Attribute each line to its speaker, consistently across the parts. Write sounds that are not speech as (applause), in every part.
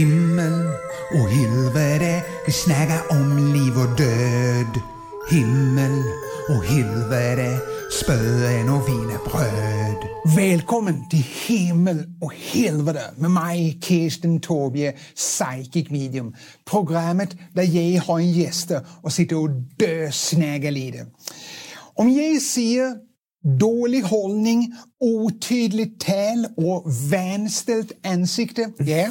Speaker 1: Himmel och helvete, vi snäga om liv och död. Himmel och helvete, spöen och wienerbröd.
Speaker 2: Välkommen till Himmel och helvete med mig, Kirsten Tobie, psychic medium. Programmet där jag har en gäster och sitter och dösnägar lite. Om jag säger dålig hållning, otydligt tal och vänställt ansikte, ja,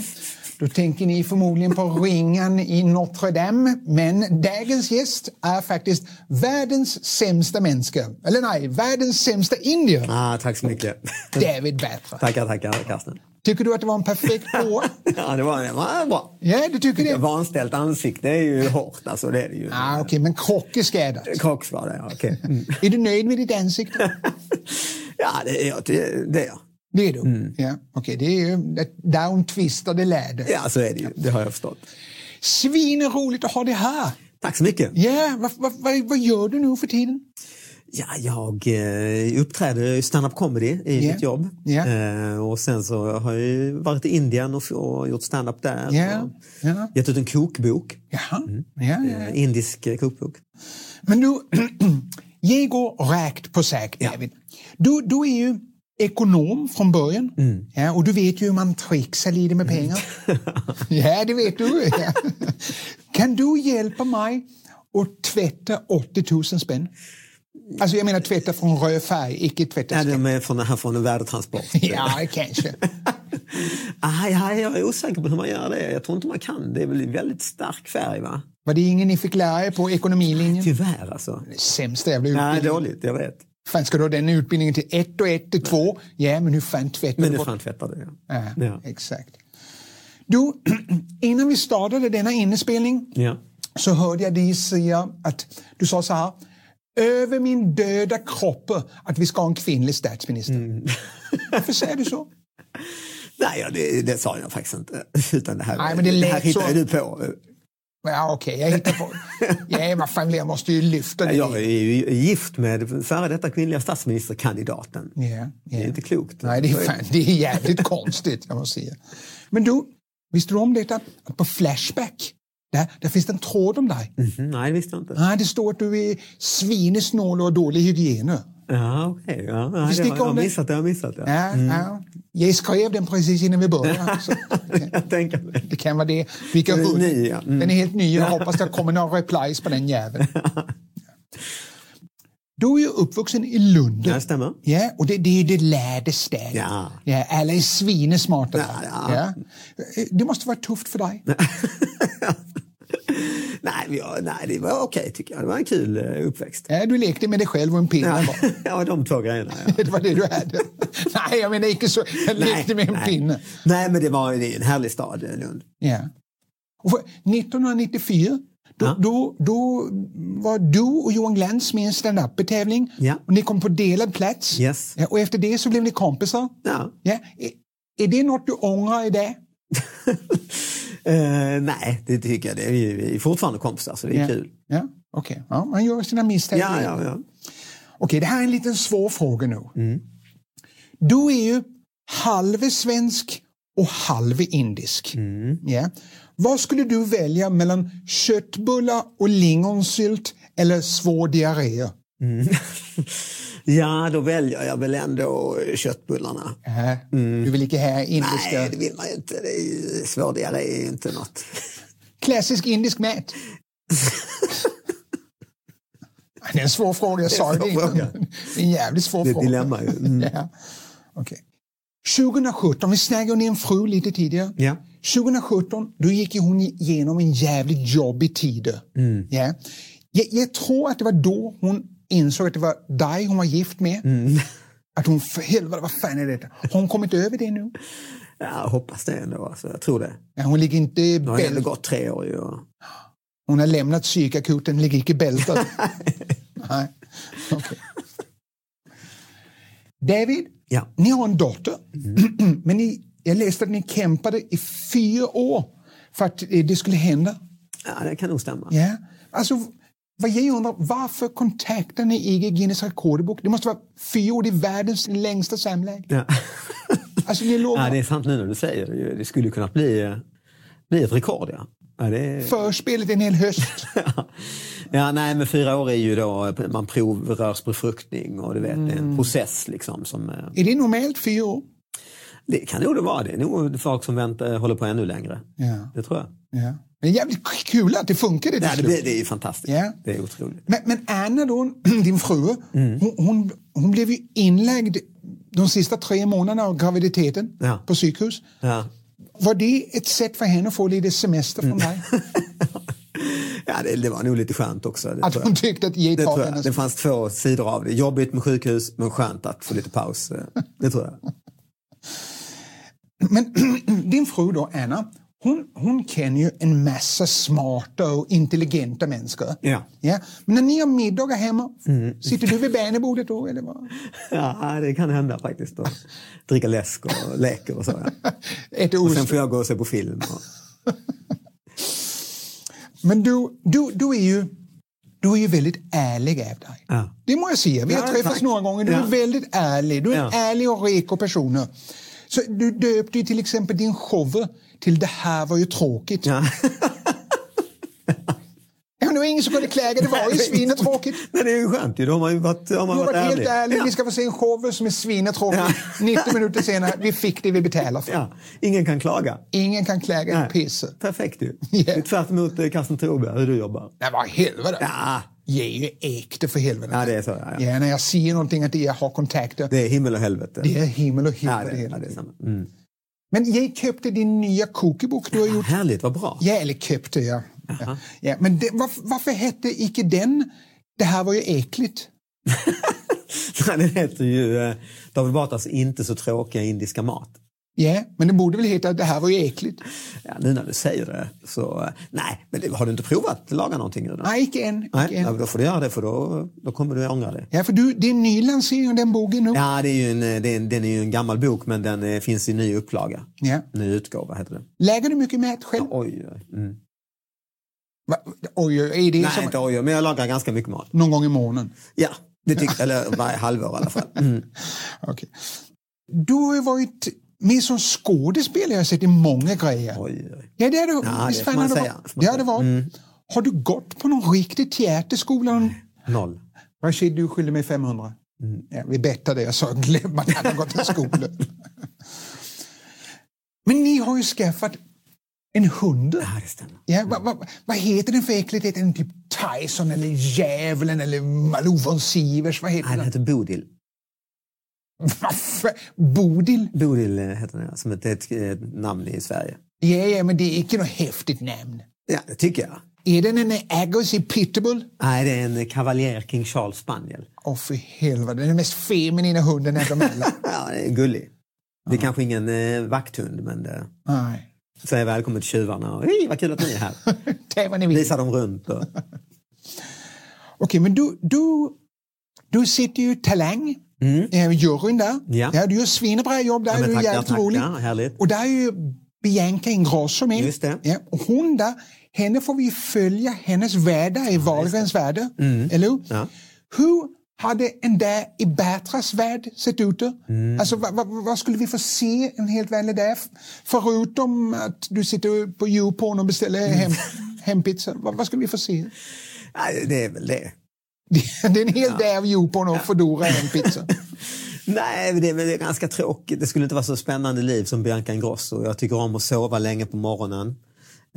Speaker 2: då tänker ni förmodligen på ringen i Notre Dame. Men dagens gäst är faktiskt världens sämsta människa. Eller nej, världens sämsta indier.
Speaker 3: Ah, tack så mycket. (laughs)
Speaker 2: David Batra.
Speaker 3: tackar, tackar Karsten.
Speaker 2: Tycker du att det var en perfekt gåva?
Speaker 3: Ja, det var, det var bra.
Speaker 2: ja, du tycker det?
Speaker 3: Vanställt ansikte är ju hårt, alltså det är det ju.
Speaker 2: Ah, Okej, men krock är skadat.
Speaker 3: Kock var det, ja,
Speaker 2: (laughs)
Speaker 3: okej. Mm.
Speaker 2: Är du nöjd med ditt ansikte?
Speaker 3: Ja, det är jag. Det, det är jag.
Speaker 2: Det är du? Ja, okej. Det är ju ett downtwistade läder.
Speaker 3: Ja, så är det ju. Det har jag förstått.
Speaker 2: Svinroligt att ha det här!
Speaker 3: Tack så mycket.
Speaker 2: Ja, vad, vad, vad, vad gör du nu för tiden?
Speaker 3: Ja, jag eh, uppträder i stand-up comedy i
Speaker 2: Ja.
Speaker 3: mitt jobb.
Speaker 2: Ja.
Speaker 3: Eh, och sen så har jag ju varit i Indien och, f- och gjort stand-up där.
Speaker 2: Ja,
Speaker 3: Och
Speaker 2: ja.
Speaker 3: Gett ut en kokbok.
Speaker 2: Jaha, ja, ja, ja.
Speaker 3: Eh, indisk eh, kokbok.
Speaker 2: Men du, (clears throat) jag går rakt på sak, David. Du, du är ju ekonom från början ja, och du vet ju hur man trixar lite med pengar. ja, det vet du. Ja. Kan du hjälpa mig att tvätta 80 000 spänn? Alltså jag menar tvätta från röd färg, icke tvätta
Speaker 3: Ja,
Speaker 2: spänn.
Speaker 3: de är från, här från en värdetransport.
Speaker 2: (laughs) Ja, kanske.
Speaker 3: Aj, aj, jag är osäker på hur man gör det. Jag tror inte man kan. Det är väl väldigt stark färg, va?
Speaker 2: Var det ingen ni fick lära er på ekonomilinjen?
Speaker 3: Tyvärr, alltså.
Speaker 2: Sämsta jävla
Speaker 3: Nej,
Speaker 2: utbildning.
Speaker 3: dåligt. Jag vet.
Speaker 2: Fan, ska du ha den utbildningen till ett och ett till två? Ja, men hur fan tvättar
Speaker 3: Men
Speaker 2: du
Speaker 3: nu
Speaker 2: bort
Speaker 3: fan tvättar du. Ja.
Speaker 2: Ja,
Speaker 3: Ja.
Speaker 2: Exakt. Du, (clears throat) innan vi startade denna inspelning
Speaker 3: Ja.
Speaker 2: så hörde jag dig säga att du sa så här. Över min döda kropp att vi ska ha en kvinnlig statsminister.
Speaker 3: Mm. (laughs)
Speaker 2: Varför säger du så?
Speaker 3: Nej, ja, det, det sa jag faktiskt inte. (laughs) Utan det här,
Speaker 2: Nej, men det
Speaker 3: här
Speaker 2: lät
Speaker 3: hittade
Speaker 2: så.
Speaker 3: du på.
Speaker 2: Ja, okej, jag hittar
Speaker 3: (laughs)
Speaker 2: på. Ja, vad fan, jag måste ju lyfta det.
Speaker 3: Jag är ju gift med före detta kvinnliga statsministerkandidaten.
Speaker 2: Ja,
Speaker 3: Det är
Speaker 2: ja.
Speaker 3: inte klokt.
Speaker 2: Nej, det är, fan, det är
Speaker 3: (laughs)
Speaker 2: jävligt konstigt, jag måste säga. Men du, visste du om detta? Att På Flashback, där, där finns det en tråd om dig.
Speaker 3: Mhm, Nej, det visste jag inte.
Speaker 2: Nej, det står att du är svinesnål och har dålig hygien. nu.
Speaker 3: Ja, okej. Ja, nej, det
Speaker 2: sticker
Speaker 3: har- jag har
Speaker 2: om det.
Speaker 3: missat det. Jag har missat det.
Speaker 2: Ja, ja. Jag skrev den precis innan vi
Speaker 3: (laughs)
Speaker 2: började. Så
Speaker 3: Jag tänker mig.
Speaker 2: det kan vara det. Vilka
Speaker 3: Den är
Speaker 2: hund-
Speaker 3: ny, ja. Mm.
Speaker 2: Den är helt ny. Jag hoppas det kommer några replies på
Speaker 3: (laughs)
Speaker 2: den jäveln. Du är ju uppvuxen i
Speaker 3: Ja,
Speaker 2: Lund.
Speaker 3: det stämmer.
Speaker 2: Ja, och det, det är ju det lärde stället.
Speaker 3: Ja.
Speaker 2: Ja, alla är svinesmarta. där.
Speaker 3: Ja, ja.
Speaker 2: Det måste vara tufft för dig.
Speaker 3: Nej, men jag- nej, det var okej tycker jag. Det var en kul eh, uppväxt.
Speaker 2: Ja, du lekte med dig själv och en pinne.
Speaker 3: Ja,
Speaker 2: bara.
Speaker 3: (laughs) ja de två grejerna. Ja.
Speaker 2: (laughs) Det var det du
Speaker 3: (laughs)
Speaker 2: hade. Nej, jag menar inte så. Jag lekte med en pinne.
Speaker 3: Nej, men det var det är ju en härlig stad, eh, Lund.
Speaker 2: Ja. Och för 1994 då,
Speaker 3: Ja.
Speaker 2: då, då var du och Johan Glans med i en standup-tävling
Speaker 3: Ja.
Speaker 2: och ni kom på delad plats.
Speaker 3: Yes.
Speaker 2: Ja, och efter det så blev ni kompisar.
Speaker 3: Ja.
Speaker 2: Ja. Är, är det något du ångrar idag?
Speaker 3: Eh, nej, det tycker jag. Det är ju, vi är fortfarande kompisar, så det är
Speaker 2: Ja.
Speaker 3: kul.
Speaker 2: Ja, okej. Ja, man gör sina misstag.
Speaker 3: Ja, ja, ja.
Speaker 2: Okej, det här är en liten svår fråga nu. Du är ju halve svensk och halve indisk. Ja. Vad skulle du välja mellan köttbullar och lingonsylt eller svår diarré?
Speaker 3: ja, då väljer jag väl ändå köttbullarna.
Speaker 2: Äh, Du vill inte ha indiska...
Speaker 3: Nej, det vill man ju inte. Det är ju, svår diarré är ju inte något.
Speaker 2: Klassisk indisk
Speaker 3: (laughs)
Speaker 2: mat. det är en svår fråga, jag sa ju det
Speaker 3: svår
Speaker 2: innan.
Speaker 3: fråga.
Speaker 2: Det är en jävligt svår
Speaker 3: Det är ett
Speaker 2: fråga.
Speaker 3: dilemma
Speaker 2: (laughs)
Speaker 3: ju. Mm.
Speaker 2: Ja. Okej. 2017, vi snackade om din fru lite tidigare.
Speaker 3: Ja.
Speaker 2: 2017, då gick ju hon igenom en jävligt jobbig tid. Ja. Jag, jag tror att det var då hon insåg att det var dig hon var gift med. Att hon, för helvete, vad fan är detta? Har hon kommit över det nu?
Speaker 3: Ja, jag hoppas det ändå. Alltså. Jag tror det.
Speaker 2: Ja, Hon ligger inte i
Speaker 3: Det har ju ändå
Speaker 2: bält.
Speaker 3: gått tre år. Ju. och-
Speaker 2: Hon har lämnat psykakuten, ligger icke bältad. Nej. Okej. David,
Speaker 3: Ja.
Speaker 2: ni har en dotter. (clears throat) Men ni, jag läste att ni kämpade i fyra år för att eh, det skulle hända.
Speaker 3: ja, det kan nog stämma.
Speaker 2: Ja. Alltså, vad jag undrar, varför kontaktar ni IG Guinness rekordbok? Det måste vara fyra år, det är världens längsta samlag.
Speaker 3: Ja.
Speaker 2: Alltså, ni låg...
Speaker 3: Ja, det är sant nu när du säger det. Det skulle ju kunna bli... eh, Det är ett rekord, ja. ja det är...
Speaker 2: Förspelet en hel höst.
Speaker 3: ja, nej, men fyra år är ju då man provrörsbefruktning och du vet, det är
Speaker 2: Mm.
Speaker 3: en process liksom som... eh,
Speaker 2: Är det normalt fyra år?
Speaker 3: Det kan nog det vara. Det är nog folk som väntar, håller på ännu längre.
Speaker 2: Ja.
Speaker 3: Det tror jag.
Speaker 2: ja. Det är jävligt kul att det funkar det till
Speaker 3: Ja, det,
Speaker 2: slut.
Speaker 3: blir- det är ju fantastiskt.
Speaker 2: Ja.
Speaker 3: Det är otroligt.
Speaker 2: Men, men Anna då, (clears throat) din fru,
Speaker 3: Mm.
Speaker 2: hon, hon, hon blev ju inlagd de sista tre månaderna av graviditeten
Speaker 3: Ja.
Speaker 2: på sjukhus.
Speaker 3: Ja.
Speaker 2: Var det ett sätt för henne att få lite semester från
Speaker 3: Mm. (laughs)
Speaker 2: dig?
Speaker 3: Ja, det, det var nog lite skönt också. Det
Speaker 2: Att
Speaker 3: tror
Speaker 2: hon
Speaker 3: jag.
Speaker 2: tyckte att ge
Speaker 3: Det,
Speaker 2: tar
Speaker 3: tror jag.
Speaker 2: hennes...
Speaker 3: det fanns två sidor av det. Jobbigt med sjukhus, men skönt att få lite paus. eh, Det tror jag.
Speaker 2: Men (clears throat) din fru då, Anna, hon, hon känner ju en massa smarta och intelligenta människor.
Speaker 3: Ja. Mm.
Speaker 2: Ja. Men när ni har middagar hemma, sitter du vid barnebordet då? Eller
Speaker 3: (laughs)
Speaker 2: vad?
Speaker 3: Ja, det kan hända faktiskt. Och dricka läsk och leker och så. Ja.
Speaker 2: Äter
Speaker 3: Och
Speaker 2: ost?
Speaker 3: sen får jag gå och se på film.
Speaker 2: (laughs)
Speaker 3: Och...
Speaker 2: Men du, du, du, är ju, du är ju väldigt ärlig av dig.
Speaker 3: Ja.
Speaker 2: Det må jag säga. Vi har
Speaker 3: Ja,
Speaker 2: träffats
Speaker 3: tack.
Speaker 2: några gånger. Du
Speaker 3: Ja.
Speaker 2: är väldigt ärlig. Du är
Speaker 3: Ja.
Speaker 2: en ärlig och reko person. Så du döpte ju till exempel din show till Det här var ju tråkigt.
Speaker 3: Ja.
Speaker 2: (laughs) Ja, men det var ingen som kunde klaga. Det var ju
Speaker 3: (laughs)
Speaker 2: svinetråkigt.
Speaker 3: Men det är ju skönt. ju. Då har man ju varit, har man
Speaker 2: Du har
Speaker 3: varit,
Speaker 2: varit helt
Speaker 3: ärlig.
Speaker 2: ärlig.
Speaker 3: Ja.
Speaker 2: Vi ska få se en show som är svinetråkig. (laughs)
Speaker 3: Ja.
Speaker 2: 90 minuter senare, vi fick det vi betalade för.
Speaker 3: Ja. Ingen kan klaga.
Speaker 2: Ingen kan klaga
Speaker 3: Nej.
Speaker 2: ett pisse. (laughs)
Speaker 3: Perfekt ju.
Speaker 2: Ja.
Speaker 3: Det är tvärt emot eh, Carsten Thorberg, hur du jobbar.
Speaker 2: Nej, vad i helvete.
Speaker 3: Ja,
Speaker 2: Jag är ju äkta för helvete.
Speaker 3: ja det är så. Ja, ja.
Speaker 2: Ja, när jag ser någonting att jag har kontakter.
Speaker 3: Det är himmel och helvete.
Speaker 2: Det är himmel och
Speaker 3: ja,
Speaker 2: himmel.
Speaker 3: det, ja, det är samma. Mm.
Speaker 2: Men jag köpte din nya kokebok du har gjort.
Speaker 3: Härligt, vad bra.
Speaker 2: Ja, eller köpte jag. Ja. Ja, men det, varför, varför hette icke den Det här var ju äckligt?
Speaker 3: (laughs) Nej, Den heter ju eh, David Batras inte så tråkiga indiska mat.
Speaker 2: Ja, men den borde väl heta Det här var ju äckligt?
Speaker 3: Ja, nu när du säger det så... eh, Nej, men det, har du inte provat att laga någonting ur den?
Speaker 2: Nej, icke än. Icke
Speaker 3: Nej, ja,
Speaker 2: än.
Speaker 3: då får du göra det för då, då kommer du ångra det.
Speaker 2: Ja, för du, det är en ny lansering av den boken nu.
Speaker 3: Ja, det är ju en, eh, det är en, den är ju en gammal bok men den eh, finns i ny upplaga.
Speaker 2: Ja.
Speaker 3: Ny utgåva heter det.
Speaker 2: Lägger du mycket mat själv?
Speaker 3: Oj, oj. Mm.
Speaker 2: Va? Oj, oj, är det
Speaker 3: Nej,
Speaker 2: som
Speaker 3: inte oj, oj, men jag lagar ganska mycket mat.
Speaker 2: någon gång i månaden?
Speaker 3: Ja, det tycker, eller varje halvår i alla fall. Mm.
Speaker 2: Okej. Du har ju varit med som skådespelare, jag har sett i många grejer.
Speaker 3: Oj, oj.
Speaker 2: Ja, det är du.
Speaker 3: Ja,
Speaker 2: Visst
Speaker 3: det
Speaker 2: fan
Speaker 3: får man
Speaker 2: har du
Speaker 3: säga. Mm.
Speaker 2: varit-
Speaker 3: Det får man
Speaker 2: Det har du
Speaker 3: säga.
Speaker 2: varit. Har du gått på någon riktig teaterskola? Någon-
Speaker 3: Noll.
Speaker 2: Rashid, du skyller mig 500.
Speaker 3: Mm.
Speaker 2: Ja, vi bettade, jag sa glöm att han har gått i skolan. Men ni har ju skaffat en hund.
Speaker 3: Ja, det stämmer.
Speaker 2: Ja, vad, vad, vad heter den för äckligt? Heter den typ Tyson eller Djävulen eller Malou von Sivers? Vad heter
Speaker 3: Nej, den
Speaker 2: den?
Speaker 3: heter Bodil.
Speaker 2: Varför? Bodil?
Speaker 3: Bodil eh, heter den, ja, som ett, ett, ett namn i Sverige.
Speaker 2: Ja, ja, men det är inte något häftigt namn.
Speaker 3: Ja, det tycker jag.
Speaker 2: Är den en aggressiv pitbull?
Speaker 3: Nej, det är en kavaljer King Charles spaniel.
Speaker 2: Åh, för helvete. Den är den mest feminina hunden av dem
Speaker 3: (laughs)
Speaker 2: alla.
Speaker 3: Ja, det är gullig. Det är kanske ingen eh, vakthund, men det
Speaker 2: Nej.
Speaker 3: säger välkommen till tjuvarna. Och, Hej, vad kul att ni är här.
Speaker 2: Det är vad ni vill.
Speaker 3: Visar dem runt. Och,
Speaker 2: Okej, men du, du, du sitter ju i Talang, mm. juryn där.
Speaker 3: Ja.
Speaker 2: du gör svinebra jobb där.
Speaker 3: men
Speaker 2: du är
Speaker 3: tackar,
Speaker 2: jävligt
Speaker 3: tackar.
Speaker 2: rolig.
Speaker 3: Härligt.
Speaker 2: Och där är ju Bianca Ingrosso med.
Speaker 3: Just det.
Speaker 2: Ja, och hon där, henne får vi följa hennes vardag i Wahlgrens värld. Eller hur?
Speaker 3: Mm. Ja.
Speaker 2: Hur hade en dag i Batras värld sett ut? då?
Speaker 3: Mm.
Speaker 2: Alltså, vad, vad, vad skulle vi få se en helt vanlig dag? Förutom att du sitter på Youporn och beställer
Speaker 3: Mm.
Speaker 2: hem, hempizza. Vad, vad skulle vi få se?
Speaker 3: Nej, det är väl det.
Speaker 2: Det det är en hel dag av Youporn och Foodora och en
Speaker 3: (laughs)
Speaker 2: pizza.
Speaker 3: Nej, men det är väl ganska tråkigt. Det skulle inte vara så spännande liv som Bianca Ingrosso. Jag tycker om att sova länge på morgonen.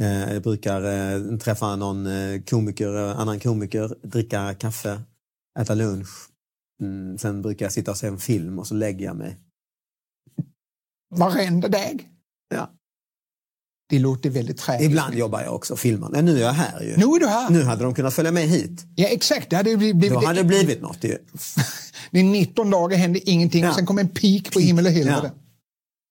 Speaker 3: Eh, Jag brukar eh, träffa någon eh, komiker, eh, annan komiker, dricka kaffe, äta lunch. Mm, sen brukar jag sitta och se en film och så lägger jag mig.
Speaker 2: Varenda dag.
Speaker 3: Ja.
Speaker 2: Det låter väldigt träligt.
Speaker 3: Ibland jobbar jag också och filmar. Men nu är jag här ju.
Speaker 2: Nu är du här.
Speaker 3: Nu hade de kunnat följa med hit.
Speaker 2: Ja, exakt. Det hade blivit, blivit
Speaker 3: Då hade det blivit något ju.
Speaker 2: Det är 19 dagar hände ingenting
Speaker 3: Ja.
Speaker 2: och sen kom en peak på himmel och helvete.
Speaker 3: Ja.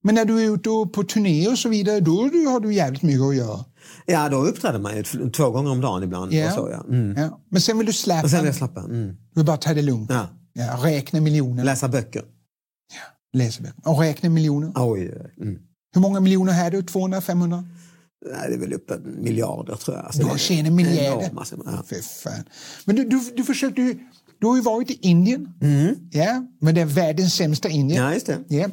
Speaker 2: Men när du är ute och på turné och så vidare, då är du- har du jävligt mycket att göra.
Speaker 3: Ja, då uppträder man ju t- två gånger om dagen ibland.
Speaker 2: Ja.
Speaker 3: Och så, ja. Mm.
Speaker 2: Ja. Men sen vill du släppa,
Speaker 3: Och sen vill jag slappa. Mm.
Speaker 2: du vill bara ta det lugnt.
Speaker 3: Ja.
Speaker 2: Ja, räkna miljoner,
Speaker 3: Läsa böcker.
Speaker 2: läser vi. Och räkna miljoner.
Speaker 3: Oj. Mm.
Speaker 2: Hur många miljoner har du? 200, 500?
Speaker 3: Nej, det är väl uppåt miljarder tror jag. Alltså,
Speaker 2: Du
Speaker 3: det
Speaker 2: har
Speaker 3: är
Speaker 2: tjänat miljarder.
Speaker 3: enorma summor, ja.
Speaker 2: Fy fan. Men du, du, du försökte ju, du har ju varit i Indien.
Speaker 3: Mm.
Speaker 2: Ja, men det är världens sämsta Indien.
Speaker 3: Ja, just det.
Speaker 2: Ja.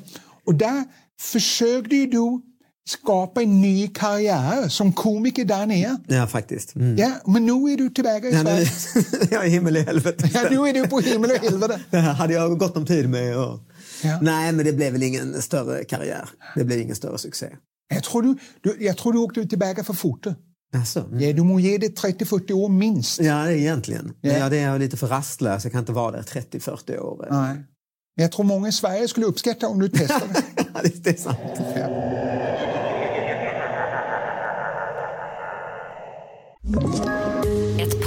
Speaker 2: Och där försökte ju du skapa en ny karriär som komiker där nere.
Speaker 3: Ja, faktiskt. Mm.
Speaker 2: Ja, men nu är du tillbaka i
Speaker 3: (laughs) Ja, nu,
Speaker 2: Sverige.
Speaker 3: jag är himmel i helvete.
Speaker 2: Ja, nu är du på himmel och helvete.
Speaker 3: Det här hade jag gott om tid med. Och...
Speaker 2: Ja.
Speaker 3: Nej, men det blev väl ingen större karriär. Det blev ingen större succé.
Speaker 2: Jag tror du, du, jag tror du åkte tillbaka för fort.
Speaker 3: Alltså, mm.
Speaker 2: Ja, du må ge det 30-40 år minst.
Speaker 3: Ja, det är egentligen.
Speaker 2: Ja.
Speaker 3: Men ja, det är jag lite för rastlös. Jag kan inte vara där 30-40 år. (laughs)
Speaker 2: Nej. Men jag tror många i Sverige skulle uppskatta om du testade.
Speaker 1: (laughs)
Speaker 3: det är sant. Mm,
Speaker 4: Ett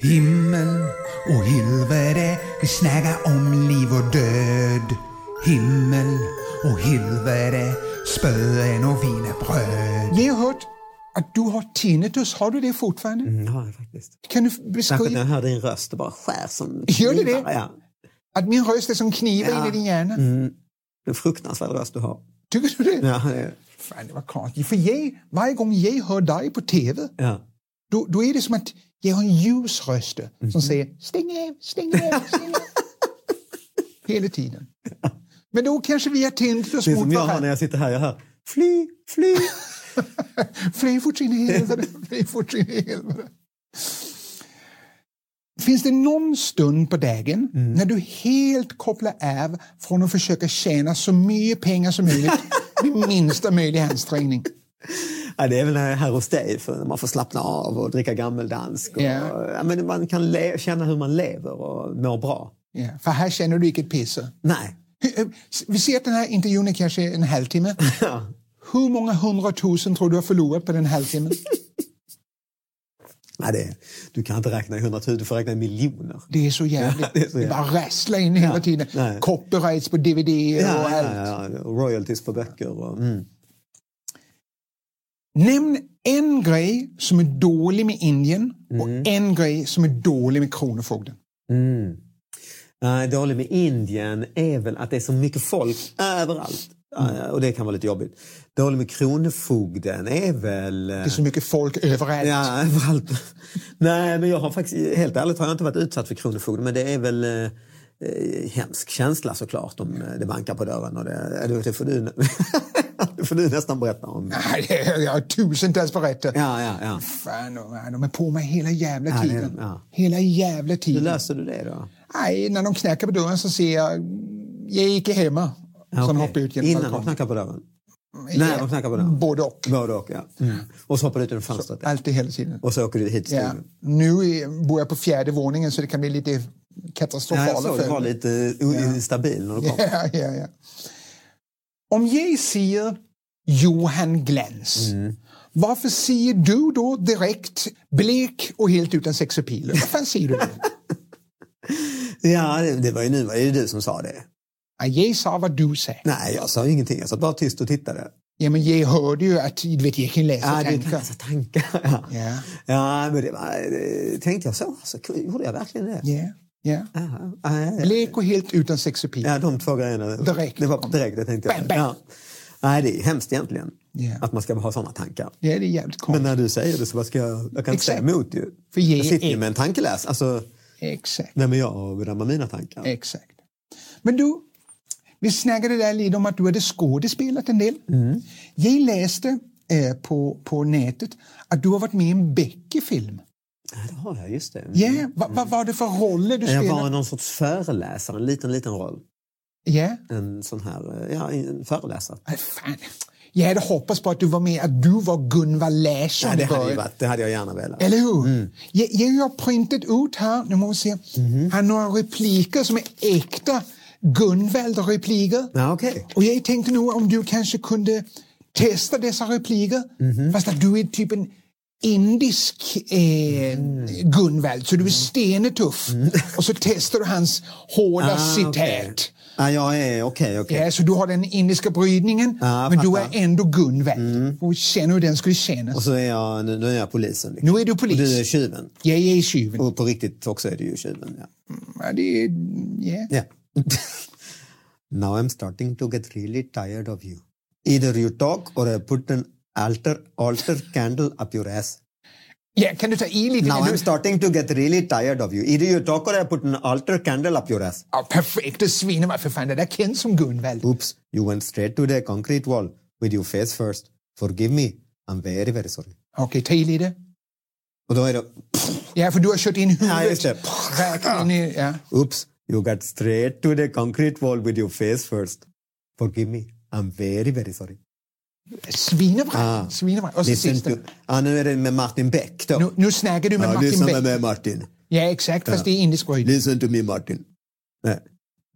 Speaker 1: Himmel och helvete, vi snackar om liv och död. Himmel och helvete, spöen och wienerbröd.
Speaker 2: Jag har hört att du har tinnitus. Har du det fortfarande?
Speaker 1: Mm.
Speaker 3: Ja, faktiskt.
Speaker 2: Kan du
Speaker 3: Särskilt när
Speaker 2: beskriva
Speaker 3: jag hör din röst, det bara skär som
Speaker 2: Gör det
Speaker 3: knivar,
Speaker 2: det?
Speaker 3: Ja.
Speaker 2: att min röst är som knivar
Speaker 3: Ja.
Speaker 2: in i din hjärna?
Speaker 3: En fruktansvärd röst du har.
Speaker 2: Tycker du det?
Speaker 3: Ja, det är,
Speaker 2: Fan, det var konstigt. För jag, varje gång jag hör dig på tv,
Speaker 3: ja.
Speaker 2: då, då är det som att jag har en ljus röst
Speaker 3: Mhm.
Speaker 2: som säger stäng av, stäng av, stäng
Speaker 3: (laughs)
Speaker 2: av. Hela tiden. Men då kanske vi har tinnitus
Speaker 3: Det är som
Speaker 2: mot
Speaker 3: jag hör när
Speaker 2: varandra.
Speaker 3: jag sitter här. Jag hör fly,
Speaker 2: (laughs)
Speaker 3: fly.
Speaker 2: Fly fort in i helvete,
Speaker 3: (laughs)
Speaker 2: fly fort in i helvete. Finns det någon stund på dagen
Speaker 3: Mhm.
Speaker 2: när du helt kopplar av från att försöka tjäna så mycket pengar som
Speaker 3: (laughs)
Speaker 2: möjligt med minsta möjliga ansträngning?
Speaker 3: Ja, det är väl när jag är här hos dig, för när man får slappna av och dricka gammeldansk. Och,
Speaker 2: Ja.
Speaker 3: ja, men man kan le- känna hur man lever och mår bra.
Speaker 2: Ja, för här känner du vilket pisse.
Speaker 3: Nej.
Speaker 2: Hur- eh, Vi ser att den här intervjun är kanske en halvtimme.
Speaker 3: (laughs) Ja.
Speaker 2: Hur många hundratusen tror du har förlorat på den
Speaker 3: (laughs)
Speaker 2: halvtimmen?
Speaker 3: Nej, det är, du kan inte räkna i hundratusen, du får räkna i miljoner.
Speaker 2: Det är så jävligt.
Speaker 3: Ja, det är så jävligt.
Speaker 2: bara rasslar in hela tiden.
Speaker 3: nej.
Speaker 2: Copyrights på DVD och
Speaker 3: Ja,
Speaker 2: allt.
Speaker 3: ja, ja, och royalties på böcker. Och, mm.
Speaker 2: Nämn en grej som är dålig med Indien och en grej som är dålig med Kronofogden.
Speaker 3: Mm. Eh, dålig med Indien är väl att det är så mycket folk överallt. Eh, och det kan vara lite jobbigt. Dålig med Kronofogden är väl... eh,
Speaker 2: Det är så mycket folk överallt.
Speaker 3: Ja, överallt. (laughs) Nej, men jag har faktiskt, helt ärligt har jag inte varit utsatt för Kronofogden, men det är väl eh, eh, hemsk känsla såklart om eh, det bankar på dörren. Och det, eh, det, det, får du, (laughs) det får du nästan berätta om.
Speaker 2: Nej, det är- Jag har tusentals berättelser.
Speaker 3: Ja, ja, ja.
Speaker 2: Fan, de- de är på mig hela jävla
Speaker 3: Ja, det är-
Speaker 2: tiden.
Speaker 3: ja.
Speaker 2: Hela jävla
Speaker 3: Hur
Speaker 2: tiden.
Speaker 3: löser du det då?
Speaker 2: Nej, när de knackar på dörren så säger jag, jag gick hemma. Sen
Speaker 3: okej.
Speaker 2: hoppar jag ut genom
Speaker 3: Innan de
Speaker 2: balkongen.
Speaker 3: knackar på dörren? Nej, de knackar på dörren.
Speaker 2: Både och.
Speaker 3: Både och, ja. Mm. Och så hoppar du ut genom fönstret.
Speaker 2: Alltid hela tiden.
Speaker 3: Och så åker du hit till
Speaker 2: Ja.
Speaker 3: stugan.
Speaker 2: Nu är- bor jag på fjärde våningen så det kan bli lite
Speaker 3: Ja,
Speaker 2: katastrofala
Speaker 3: jag såg, du var
Speaker 2: följder.
Speaker 3: lite o- instabil när du kom.
Speaker 2: (laughs) Ja, ja, ja. Om jag säger Johan Glans,
Speaker 3: Mm.
Speaker 2: varför säger du då direkt blek och helt utan sexapil? Vad fan säger du
Speaker 3: (laughs)
Speaker 2: då?
Speaker 3: Ja, det, det var ju nu var det ju du som sa det.
Speaker 2: Ja, jag sa vad du sa.
Speaker 3: Nej, jag sa ingenting. Jag satt bara tyst och tittade.
Speaker 2: Ja, men jag hörde ju att du vet, jag kan läsa
Speaker 3: Ja, du kan
Speaker 2: tankar.
Speaker 3: läsa tankar. Ja.
Speaker 2: Ja.
Speaker 3: ja, men det var, det, tänkte jag så? Alltså, k- gjorde jag verkligen det?
Speaker 2: Ja, ja.
Speaker 3: Ja, ja, ja.
Speaker 2: Blek och helt utan sexapil.
Speaker 3: ja de två grejerna.
Speaker 2: Direkt.
Speaker 3: Det var direkt, det tänkte jag.
Speaker 2: Bam, bam.
Speaker 3: Ja. Nej, det är hemskt egentligen.
Speaker 2: Ja.
Speaker 3: Att man ska ha sådana tankar.
Speaker 2: Ja, det är jävligt
Speaker 3: Men
Speaker 2: konstigt.
Speaker 3: när du säger det så vad ska jag, jag kan inte säga
Speaker 2: Exakt.
Speaker 3: emot ju.
Speaker 2: För ge
Speaker 3: jag sitter ju
Speaker 2: är-
Speaker 3: med en tankeläs. Alltså,
Speaker 2: Exakt.
Speaker 3: vem är jag och bedöma mina tankar?
Speaker 2: Exakt. Men du, vi snackade där lite om att du hade skådespelat en del.
Speaker 3: Mm.
Speaker 2: Jag läste eh, på, på nätet att du har varit med i en Becky-film.
Speaker 3: Ja, det har jag, just det. Mm.
Speaker 2: Ja, va- Vad var det för roller du
Speaker 3: Jag
Speaker 2: spelade?
Speaker 3: var någon sorts föreläsare, en liten, liten roll.
Speaker 2: Ja,
Speaker 3: En sån här, eh, ja, en föreläsare.
Speaker 2: Aj, fan. Jag hade hoppats på att du var med, att du var Gunvar Larsson
Speaker 3: Ja, det,
Speaker 2: i
Speaker 3: hade ju
Speaker 2: början.
Speaker 3: varit, det hade jag gärna velat.
Speaker 2: Eller hur?
Speaker 3: Mm.
Speaker 2: Jag, jag har printat ut här, nu måste vi se.
Speaker 3: Mhm.
Speaker 2: Han har några repliker som är äkta Gunvald-repliker.
Speaker 3: Ja, okej.
Speaker 2: Och jag tänkte nog om du kanske kunde testa dessa repliker.
Speaker 3: Mhm.
Speaker 2: Fast att du är typ en indisk eh,
Speaker 3: Mm. (laughs)
Speaker 2: Gunvald, så du är stenetuff. Och så testar du hans hårda
Speaker 3: Ah,
Speaker 2: citat.
Speaker 3: okej. Ja, jag är okej, okej.
Speaker 2: Ja, så du har den indiska brytningen,
Speaker 3: Ja, jag
Speaker 2: men du är
Speaker 3: fattar. Mm.
Speaker 2: ändå Gunvald. Och känner hur den skulle kännas.
Speaker 3: Och så är jag, nu, nu är jag polisen. Liksom.
Speaker 2: Nu är du polis.
Speaker 3: Och du är tjuven.
Speaker 2: Jag är tjuven.
Speaker 3: Och på riktigt också är du ju tjuven. Ja.
Speaker 2: Ja, det är... ja.
Speaker 3: Yeah. (laughs) now I'm starting to get really tired of you. Either you talk or I put an altar altar candle up your ass.
Speaker 2: Ja, kan du ta i lite?
Speaker 3: Now
Speaker 2: när
Speaker 3: I'm
Speaker 2: du...
Speaker 3: starting to get really tired of you. Either you talk or I put an altar candle up your ass.
Speaker 2: ja, perfekt, du sviner mig för fan. Det där känns som Gunvald.
Speaker 3: Oops, you went straight to the concrete wall with your face first. Forgive me. I'm very, very sorry.
Speaker 2: Okej, ta i lite.
Speaker 3: Och då är det, (clears throat)
Speaker 2: Ja, för du har kört in huvudet.
Speaker 3: Ja, just det.
Speaker 2: Rakt in i... Ja.
Speaker 3: oops, you got straight to the concrete wall with your face first. Forgive me. I'm very, very sorry.
Speaker 2: Svinebra.
Speaker 3: Ah.
Speaker 2: Svinebra. Och så
Speaker 3: Listen
Speaker 2: sista.
Speaker 3: to... Ah, Ja, nu är det med Martin Beck Ah, då.
Speaker 2: Nu, nu snackar du med
Speaker 3: ja,
Speaker 2: Martin
Speaker 3: lyssna
Speaker 2: Beck.
Speaker 3: med mig Martin.
Speaker 2: Ja, exakt. Fast det är indisk brytning.
Speaker 3: Listen to me Martin. Nej.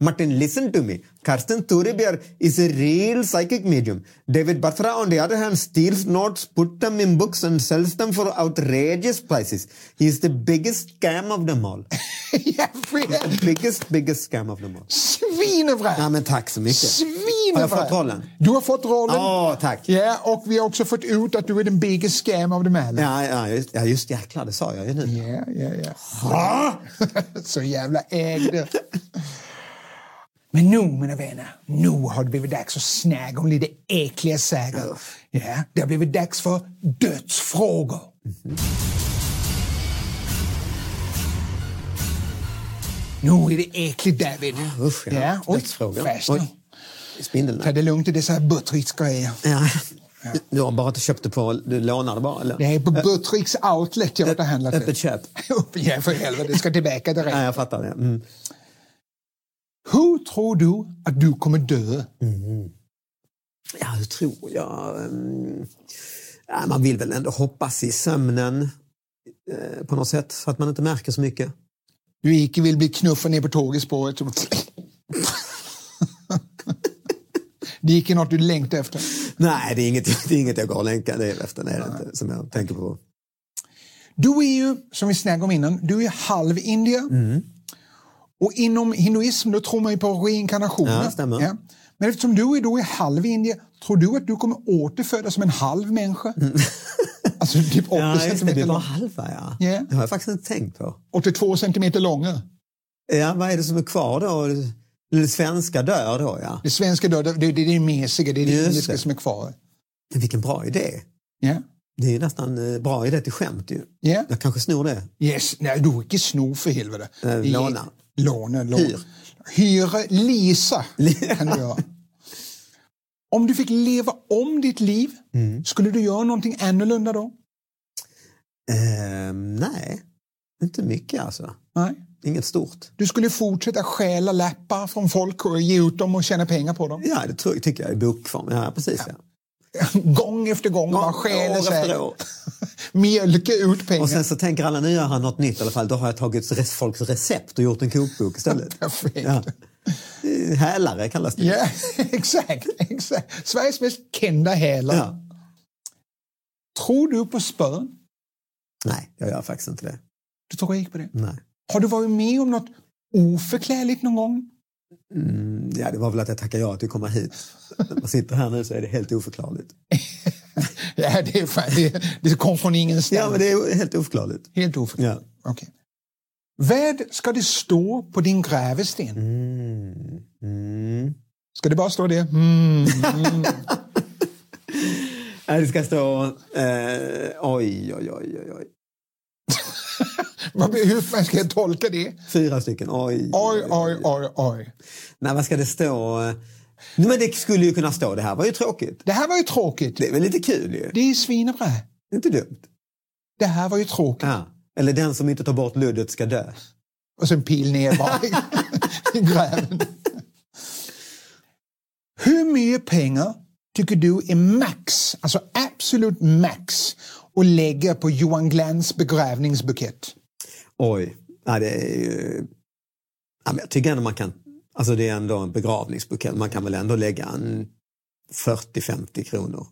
Speaker 3: Martin, listen to me. Karsten Thoribjer is a real psychic medium. David Batra, on the other hand, steals notes, put them in books and sells them for outrageous prices. He is the biggest scam of
Speaker 2: (laughs)
Speaker 3: them all.
Speaker 2: (laughs) ja, för-
Speaker 3: biggest, biggest scam of them all.
Speaker 2: Svinebra!
Speaker 3: Ja, men tack så mycket.
Speaker 2: Svinebra!
Speaker 3: Har jag fått rollen?
Speaker 2: Du har fått rollen.
Speaker 3: Ja, tack.
Speaker 2: Ja, och vi har också fått ut att du är den biggest scam av dem alla.
Speaker 3: Ja, ja, just, ja, just jäklar, det sa jag ju nu.
Speaker 2: Ja, ja, ja. (laughs) Så jävla ägde. Men nu, mina vänner, nu har det blivit dags att snäga om lite äckliga sagor. Ja, det har blivit dags för dödsfrågor. Nu är det äckligt, David.
Speaker 3: usch, ja.
Speaker 2: oj,
Speaker 3: Dödsfrågor.
Speaker 2: fräscht
Speaker 3: Oj.
Speaker 2: nu.
Speaker 3: Spindeln.
Speaker 2: Ta det lugnt i dessa buttricksgrejer.
Speaker 3: Ja. Du har bara inte köpt det på... Du lånar det bara, eller?
Speaker 2: Det är på Buttricks Outlet jag har handlat
Speaker 3: Öppet köp.
Speaker 2: (laughs) Ja, för helvete. Det ska tillbaka direkt.
Speaker 3: Ja, jag fattar det. Mm.
Speaker 2: Hur tror du att du kommer dö?
Speaker 3: Ja, hur tror jag? Mm. Ja, man vill väl ändå hoppas i sömnen eh, på något sätt så att man inte märker så mycket.
Speaker 2: Du icke vill bli knuffad ner på tågspåret. Det är icke något du längtar efter.
Speaker 3: Nej, det är inget, det är inget jag går och längtar det är efter. Det är det inte, som jag tänker på.
Speaker 2: Du är ju, som vi snackade om innan, du är halv indier.
Speaker 3: Mm.
Speaker 2: Och inom hinduism då tror man ju på reinkarnationer.
Speaker 3: Ja, stämmer.
Speaker 2: Men eftersom du är då är halv indier, tror du att du kommer återfödas som en halv människa? (laughs) Alltså typ 80
Speaker 3: Mm. Ja, just det, det
Speaker 2: centimeter
Speaker 3: var
Speaker 2: lång.
Speaker 3: halva, ja.
Speaker 2: Ja.
Speaker 3: Det har jag faktiskt inte tänkt på.
Speaker 2: 82 centimeter långa.
Speaker 3: Ja, vad är det som är kvar då? Det svenska dör då, ja.
Speaker 2: Det svenska döda, det, det är det mesiga, det är det
Speaker 3: Just
Speaker 2: indiska
Speaker 3: det.
Speaker 2: som är kvar.
Speaker 3: Men Vilken bra idé.
Speaker 2: Ja.
Speaker 3: Det är ju nästan eh, bra idé till skämt ju. (laughs)
Speaker 2: Ja.
Speaker 3: Jag kanske snor det.
Speaker 2: Yes, nej du är inte snor för helvete. Det
Speaker 3: Eh,
Speaker 2: är-
Speaker 3: låna.
Speaker 2: Låna, låna.
Speaker 3: Hyr.
Speaker 2: Hyra,
Speaker 3: (laughs)
Speaker 2: leasa kan du göra. Om du fick leva om ditt liv,
Speaker 3: Mm.
Speaker 2: skulle du göra någonting annorlunda då?
Speaker 3: Eh, nej, inte mycket alltså.
Speaker 2: Nej.
Speaker 3: Inget stort.
Speaker 2: Du skulle fortsätta stjäla lappar från folk och ge ut dem och tjäna pengar på
Speaker 3: (laughs)
Speaker 2: dem.
Speaker 3: Ja, det tror, tycker jag i bokform. Ja, precis. Ja.
Speaker 2: Gång efter gång, bara stjäla
Speaker 3: år
Speaker 2: så här.
Speaker 3: efter år.
Speaker 2: Mjölka ut pengar. (laughs)
Speaker 3: Och sen så tänker alla, nu gör han något nytt i alla fall. Då har jag tagit res- folks recept och gjort en kokbok istället.
Speaker 2: Perfekt. (laughs)
Speaker 3: Ja. Eh, Hälare kallas det.
Speaker 2: Ja, (laughs) exakt, exakt. Sveriges mest kända hälar.
Speaker 3: Ja.
Speaker 2: Tror du på spön?
Speaker 3: Nej, jag gör faktiskt inte det.
Speaker 2: Du tror jag gick på det?
Speaker 3: Nej.
Speaker 2: Har du varit med om något oförklarligt någon (laughs) gång?
Speaker 3: Mm, Ja, det var väl att jag tackade ja till att komma hit. När man sitter här nu så är det helt oförklarligt.
Speaker 2: Ja, det, är fan, det, det kom från ingenstans.
Speaker 3: Ja, men det är helt oförklarligt.
Speaker 2: Helt oförklarligt.
Speaker 3: Ja.
Speaker 2: Okej. Vad ska det stå på din grävesten?
Speaker 3: Mm. Mm.
Speaker 2: Ska det bara stå det? Mm.
Speaker 3: Ja, Det ska stå... Eh, oj, oj, oj, oj, oj.
Speaker 2: Vad- Hur fan ska jag tolka det?
Speaker 3: Fyra stycken. Oj,
Speaker 2: Oj, oj, oj, oj.
Speaker 3: Nej, vad ska det stå? Nej, men det skulle ju kunna stå. Det här var ju tråkigt.
Speaker 2: Det här var ju tråkigt.
Speaker 3: Det är väl lite kul ju?
Speaker 2: Det är svinebra.
Speaker 3: Inte dumt.
Speaker 2: Det här var ju tråkigt.
Speaker 3: Ja. Eller den som inte tar bort luddet ska dö.
Speaker 2: Och sen pil ner bara i- i gräven. Hur mycket pengar tycker du är max, alltså absolut max, att lägga på Johan Glans begravningsbukett?
Speaker 3: Oj. Ja, det är ju... Ja, men jag tycker ändå man kan... Alltså det är ändå en begravningsbukett. Man kan väl ändå lägga en 40-50 kronor.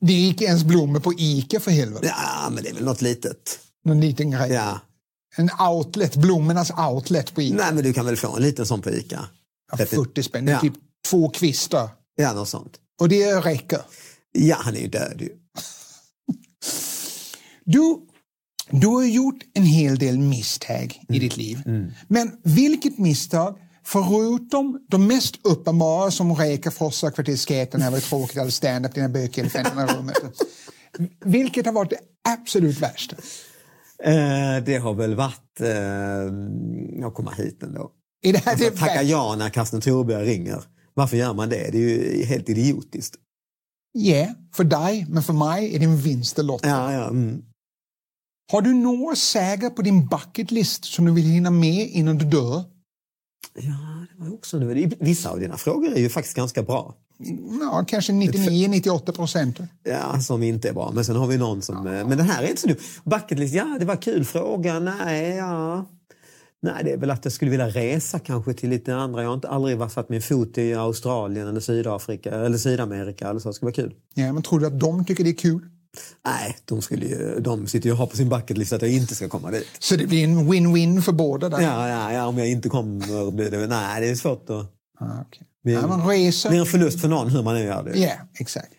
Speaker 2: Det är inte ens blommor på Ica för helvete.
Speaker 3: Ja, men det är väl något litet.
Speaker 2: Någon liten grej.
Speaker 3: Ja.
Speaker 2: En outlet, blommornas outlet på Ica.
Speaker 3: Nej, men du kan väl få en liten sån på Ica?
Speaker 2: Ja, 40 spänn, det är
Speaker 3: Ja,
Speaker 2: typ två kvistar.
Speaker 3: ja något sånt.
Speaker 2: Och det räcker.
Speaker 3: Ja, han är ju död ju.
Speaker 2: Du, du har ju gjort en hel del misstag
Speaker 3: Mm.
Speaker 2: i ditt liv. Men vilket misstag, förutom de mest uppenbara som räka, frossa, kvarterskät, den här var tråkigt, hade stand-up, dina böcker, elefanterna i rummet. Vilket har varit det absolut värsta?
Speaker 3: Eh, det har väl varit eh, att komma hit ändå.
Speaker 2: Är det här det
Speaker 3: Alltså, tacka
Speaker 2: värsta?
Speaker 3: ja när Carsten Thorberg ringer. Varför gör man det? Det är ju helt idiotiskt.
Speaker 2: Ja, för dig, men för mig är det en vinst eller lott.
Speaker 3: Ja, ja, mm.
Speaker 2: Har du några säger på din bucket list som du vill hinna med innan du dör?
Speaker 3: ja det var också nu. Vissa av dina frågor är ju faktiskt ganska bra.
Speaker 2: Ja, kanske 99-98 procent.
Speaker 3: Ja, som inte är bra. Men sen har vi någon som... eh, Men den här är inte så dum. Bucket list, ja det var kul fråga. Nej, ja. Nej, det är väl att jag skulle vilja resa kanske till lite andra. Jag har inte aldrig varit- satt min fot i Australien eller Sydafrika eller Sydamerika eller så. Det skulle vara kul.
Speaker 2: Ja, men tror du att de tycker det är kul?
Speaker 3: Nej, de, skulle ju, de sitter ju och har på sin bucket list att jag inte ska komma dit.
Speaker 2: Så det blir en win-win för båda där?
Speaker 3: Ja, ja, ja om jag inte kommer blir det... Nej, det är svårt att...
Speaker 2: Ah, okej.
Speaker 3: Det
Speaker 2: Ja, man
Speaker 3: är, det är
Speaker 2: reser.
Speaker 3: en förlust för någon hur man nu gör det.
Speaker 2: Ja, exakt.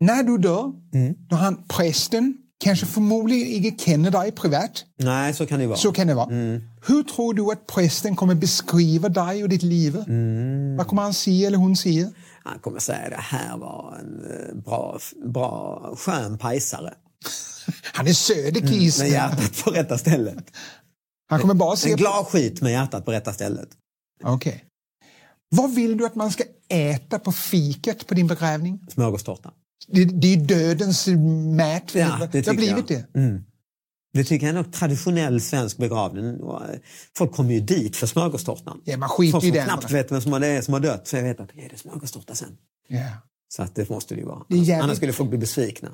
Speaker 2: När du dör,
Speaker 3: Mm.
Speaker 2: då han prästen kanske förmodligen inte känner dig privat.
Speaker 3: Nej, så kan det ju vara.
Speaker 2: Så kan det vara.
Speaker 3: Mm.
Speaker 2: Hur tror du att prästen kommer beskriva dig och ditt liv?
Speaker 3: Mm.
Speaker 2: Vad kommer han säga eller hon säga?
Speaker 3: Han kommer säga det här var en eh, bra, bra skön pajsare.
Speaker 2: Han är söderkisen.
Speaker 3: Med hjärtat på rätta stället.
Speaker 2: Han kommer bara se
Speaker 3: En
Speaker 2: på...
Speaker 3: glad skit med hjärtat på rätta stället.
Speaker 2: Okej. Vad vill du att man ska äta på fiket på din begravning?
Speaker 3: Smörgåstårta.
Speaker 2: Det, det är dödens mat.
Speaker 3: Ja, det
Speaker 2: har
Speaker 3: tycker
Speaker 2: blivit
Speaker 3: jag. Mm.
Speaker 2: det.
Speaker 3: Det tycker jag är nog traditionell svensk begravning. Och, eh, Folk kommer ju dit för smörgåstårtan.
Speaker 2: Ja, man skiter
Speaker 3: Folk
Speaker 2: i
Speaker 3: som
Speaker 2: den
Speaker 3: knappt
Speaker 2: bara.
Speaker 3: vet vem som det är som har dött. Så jag vet att är det smörgåstårta sen.
Speaker 2: Ja.
Speaker 3: Så att det måste det ju vara.
Speaker 2: Det är jävligt-
Speaker 3: Annars skulle folk bli besvikna.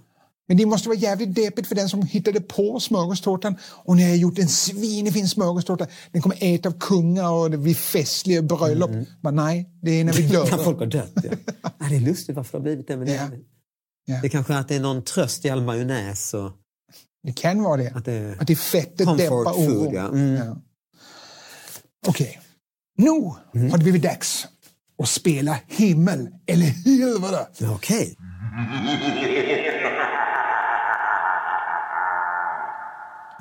Speaker 2: Men det måste vara jävligt deppigt för den som hittade på smörgåstårtan. Och när jag har gjort en svinefin smörgåstårta. Den kommer äta av kungar och det blir festliga bröllop.
Speaker 3: Mm.
Speaker 2: Men nej, det är när
Speaker 3: (laughs)
Speaker 2: vi
Speaker 3: När
Speaker 2: dör.
Speaker 3: folk har dött.
Speaker 2: (laughs)
Speaker 3: Ja. Ja, det är lustigt varför det har blivit det. Men det,
Speaker 2: Ja. Ja.
Speaker 3: det kanske är att det är någon tröst i all majonnäs. Och
Speaker 2: Det kan vara det.
Speaker 3: att det,
Speaker 2: Att det fettet
Speaker 3: Comfort
Speaker 2: dämpar
Speaker 3: food,
Speaker 2: oron.
Speaker 3: ja. Mm.
Speaker 2: Ja. Okej. Nu
Speaker 3: Mm.
Speaker 2: har det blivit dags att spela himmel eller helvete.
Speaker 3: Okej.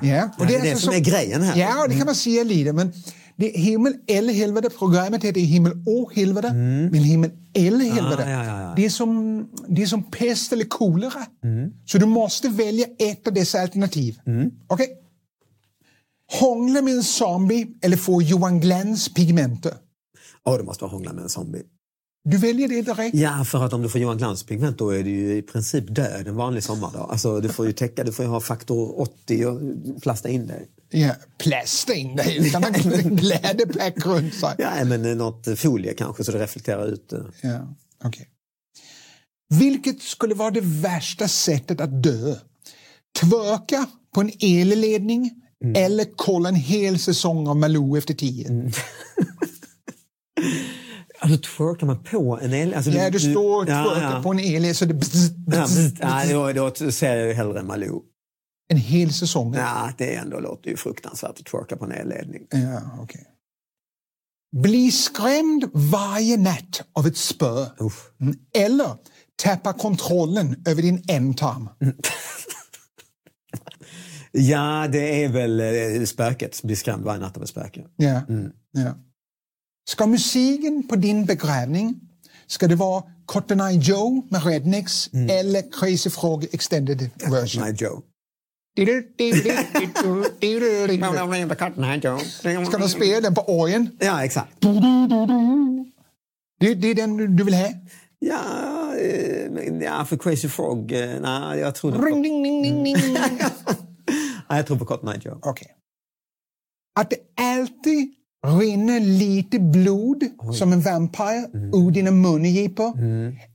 Speaker 2: Ja,
Speaker 3: Ja, det är det
Speaker 2: alltså
Speaker 3: som är grejen Mm. här.
Speaker 2: Ja, det kan man säga lite. Men det är himmel eller helvete. Programmet heter himmel och helvete. Men himmel eller helvete.
Speaker 3: Mm. Ah, ja, ja, ja. Mm.
Speaker 2: Det, är som, det är som pest eller kolera. Så du måste välja ett av dessa alternativ. Okej? Hångla med en zombie eller få Johan Glans pigmenter.
Speaker 3: Åh, det måste vara hångla med en zombie.
Speaker 2: Du väljer det direkt.
Speaker 3: Ja, för att om du får Johan Glans pigment då är du ju i princip död en vanlig sommardag. Alltså, du får ju täcka, du får ju ha faktor 80 och plasta in dig.
Speaker 2: Ja, plasta in dig
Speaker 3: (laughs)
Speaker 2: utan att klädepack runt sig.
Speaker 3: Ja, men eh, något folie kanske så det reflekterar ut. eh.
Speaker 2: Ja, okej. Vilket skulle vara det värsta sättet att dö? Tvöka på en elledning
Speaker 3: Mm.
Speaker 2: eller kolla en hel säsong av Malou efter tio?
Speaker 3: Alltså twerkar man på en el... Alltså,
Speaker 2: Ja, du står och
Speaker 3: ja,
Speaker 2: tvökar
Speaker 3: ja.
Speaker 2: på en elledning så det bzz,
Speaker 3: Ja,
Speaker 2: bzz,
Speaker 3: precis. ja, då, då ser jag ju hellre Malou.
Speaker 2: en hel säsong. Ja.
Speaker 3: Ja, det är ändå låter ju fruktansvärt att twerka på en elledning.
Speaker 2: okej. Bli skrämd varje natt av ett spö.
Speaker 3: Usch.
Speaker 2: Mm. Eller tappa kontrollen över din ändtarm.
Speaker 3: Ja, det är väl eh, spöket. Bli skrämd varje natt av ett spöke.
Speaker 2: Ja. ja. Ska musiken på din begravning, ska det vara Cotton Eye Joe med Rednecks eller Crazy Frog Extended Version?
Speaker 3: Nej, Joe.
Speaker 2: Ska de spela den på orgeln?
Speaker 3: Ja, exakt.
Speaker 2: Det, det är den du du vill ha?
Speaker 3: Ja, eh, men- ja för Crazy Frog, eh, nej, jag tror
Speaker 2: Ring,
Speaker 3: på,
Speaker 2: ding, ding, ding, ding.
Speaker 3: nej, jag tror på Cotton Eye Joe.
Speaker 2: (laughs) Okej. Att det alltid rinner lite blod som en vampyr ur dina mungipor.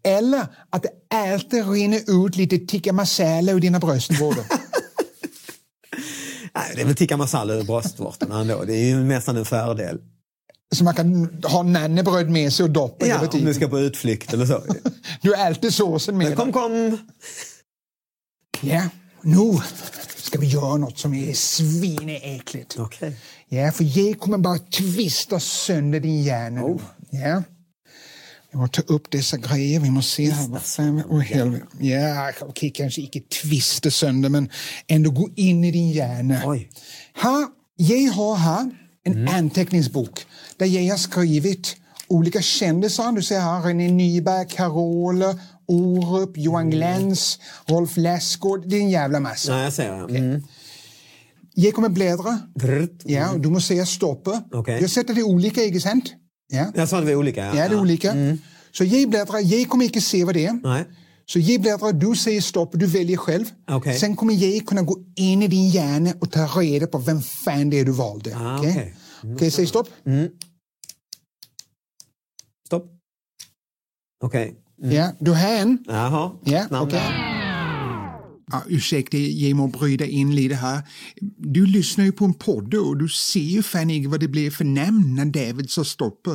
Speaker 2: Eller att det alltid rinner ut lite tikka masala ur dina bröstvårtor.
Speaker 3: Nej, det är väl tikka masala ur bröstvårtorna ändå. Det är ju nästan en fördel.
Speaker 2: Så man kan ha nannebröd med sig och doppa
Speaker 3: Ja,
Speaker 2: över
Speaker 3: om du
Speaker 2: tiden.
Speaker 3: ska på utflykt eller så.
Speaker 2: Du har alltid såsen med dig.
Speaker 3: Kom, kom!
Speaker 2: Ja, nu ska vi göra något som är svineäckligt.
Speaker 3: Okej.
Speaker 2: Ja, för jag kommer bara tvista sönder din hjärna.
Speaker 3: Oh.
Speaker 2: nu. Ja. Jag måste ta upp dessa grejer. Vi måste se här. Vad fan, åh helvete. Ja, okej, kanske inte tvista sönder, men ändå gå in i din hjärna.
Speaker 3: Oj.
Speaker 2: Här, jag har här en
Speaker 3: Mm.
Speaker 2: anteckningsbok där jag har skrivit olika kändisar. Du ser här René Nyberg, Carola, Orup,
Speaker 3: Mm.
Speaker 2: Johan Glans, Rolf Lassgård. Det är en jävla massa.
Speaker 3: Nej, jag ser det. Mm.
Speaker 2: Jag kommer bläddra.
Speaker 3: Brrt.
Speaker 2: Ja, och du måste säga stopp.
Speaker 3: Mm. Okej.
Speaker 2: Jag sätter det olika, inte sant? Ja,
Speaker 3: Jag sa att vi är olika. Ja, Mm.
Speaker 2: ja det är olika. Så jag bläddrar, jag kommer inte se vad det är.
Speaker 3: Nej.
Speaker 2: Så jag bläddrar, du säger stopp, du väljer själv.
Speaker 3: Okej.
Speaker 2: Sen kommer jag kunna gå in i din hjärna och ta reda på vem fan det är du valde.
Speaker 3: Ah,
Speaker 2: Okej,
Speaker 3: okej. Mm.
Speaker 2: Okej, säg stopp.
Speaker 3: Stopp. Okej.
Speaker 2: Ja, du har en.
Speaker 3: Jaha.
Speaker 2: Ja,
Speaker 3: Namn.
Speaker 2: okej. Ja, ursäkta, jag må bryta in lite här. Du lyssnar ju på en podd och du ser ju fan inte vad det blev för namn när David sa stopp.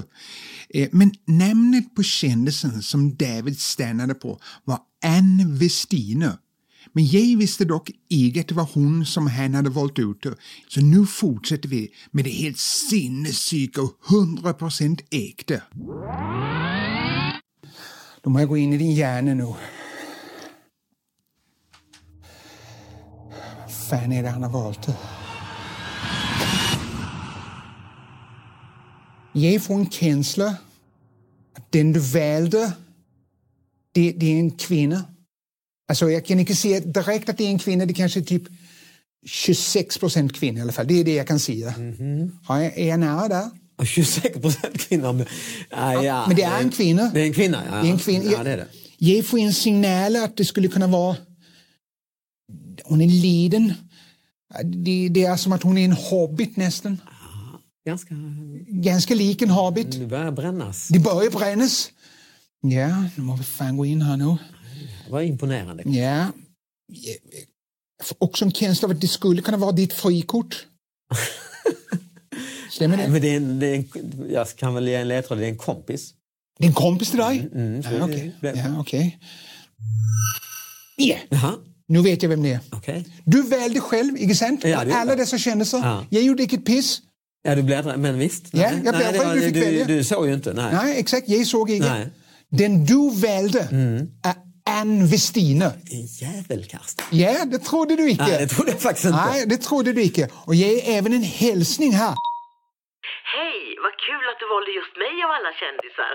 Speaker 2: Eh, Men namnet på kändisen som David stannade på var Ann Westine. Men jag visste dock inte att det var hon som han hade valt ut. Så nu fortsätter vi med det helt sinnessjuka och 100% äkta. Då må jag gå in i din hjärna nu. fan är det han har valt? Jag får en känsla att den du valde, det, det är en kvinna. Alltså jag kan inte se direkt att det är en kvinna, det kanske är typ 26 procent kvinna i alla fall. Det är det jag kan säga.
Speaker 3: Mhm.
Speaker 2: Har jag, är jag nära där?
Speaker 3: Ja, 26 procent kvinna. Men, ah, ja.
Speaker 2: men det är en kvinna.
Speaker 3: Det är en kvinna, ja.
Speaker 2: Det är en kvinna.
Speaker 3: Ja, det är det.
Speaker 2: Jag får en signal att det skulle kunna vara... Hon är liden. Det, det är som att hon är en hobbit nästan.
Speaker 3: Ganska...
Speaker 2: Ganska lik en hobbit.
Speaker 3: Nu börjar det brännas.
Speaker 2: Det börjar brännas. Ja, nu måste vi fan gå in här nu.
Speaker 3: Vad imponerande.
Speaker 2: Ja. Jag får också en känsla av att det skulle kunna vara ditt frikort.
Speaker 3: (laughs)
Speaker 2: Stämmer det?
Speaker 3: Men det är en, det är en, jag kan väl ge en ledtråd. Det är en kompis. Mm,
Speaker 2: Det är en kompis till dig?
Speaker 3: så
Speaker 2: ja,
Speaker 3: det-
Speaker 2: okej. Ja, okej. Ja,
Speaker 3: Jaha,
Speaker 2: nu vet jag vem det är.
Speaker 3: okej.
Speaker 2: Du valde själv, inte sant?
Speaker 3: Ja, det gjorde
Speaker 2: Alla
Speaker 3: jag.
Speaker 2: dessa kändisar.
Speaker 3: Ja.
Speaker 2: Jag gjorde inget piss.
Speaker 3: Ja, du bläddrar. Men visst.
Speaker 2: Ja, jag
Speaker 3: nej, det
Speaker 2: bläddrar, du fick
Speaker 3: du,
Speaker 2: välja.
Speaker 3: du såg ju inte. Nej.
Speaker 2: Nej, exakt. Jag såg inget.
Speaker 3: Nej. Mhm.
Speaker 2: Den du valde är Ann Westine.
Speaker 3: En jävel, Karsten.
Speaker 2: Ja, det trodde du inte.
Speaker 3: Nej, det trodde jag faktiskt inte.
Speaker 2: Nej, det trodde du inte. Och jag är även en hälsning här.
Speaker 5: Hej, vad kul att du valde just mig av alla kändisar.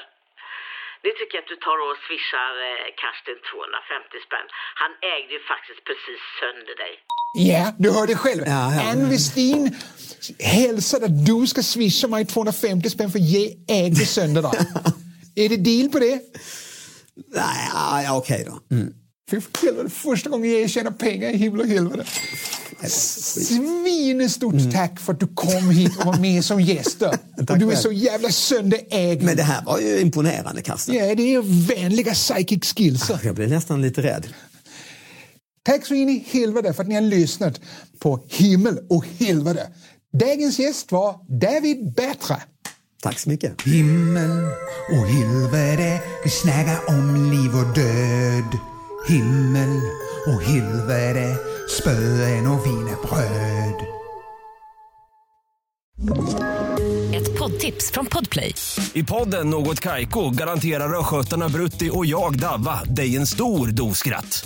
Speaker 5: Nu tycker jag att du tar och swishar eh, Karsten 250 spänn. Han ägde ju faktiskt precis sönder dig.
Speaker 2: Ja, du hörde själv.
Speaker 3: Ja, ja.
Speaker 2: Ann Westin hälsade att du ska swisha mig 250 spänn för jag ägde sönder
Speaker 3: (laughs)
Speaker 2: dig. Är det deal på det?
Speaker 3: Nej, ja, ja, okej då. Mm.
Speaker 2: Fy helvete, första gången jag tjänar pengar i himmel och helvete. Svinestort
Speaker 3: Mm.
Speaker 2: tack för att du kom hit och var med som gäst.
Speaker 3: (laughs)
Speaker 2: då. Och du är
Speaker 3: själv.
Speaker 2: så jävla söderägd.
Speaker 3: Men det här var ju imponerande, Karsten.
Speaker 2: Ja, det är vänliga psychic skills.
Speaker 3: Jag blev nästan lite rädd.
Speaker 2: Tack så in i helvete för att ni har lyssnat på Himmel och helvete. Dagens gäst var David Batra.
Speaker 3: Tack så mycket.
Speaker 1: Himmel och helvete, vi snackar om liv och död. Himmel och helvete, spöen och wienerbröd.
Speaker 4: Ett poddtips från Podplay.
Speaker 6: I podden Något Kaiko garanterar östgötarna Brutti och jag, Davva, dig en stor dos skratt.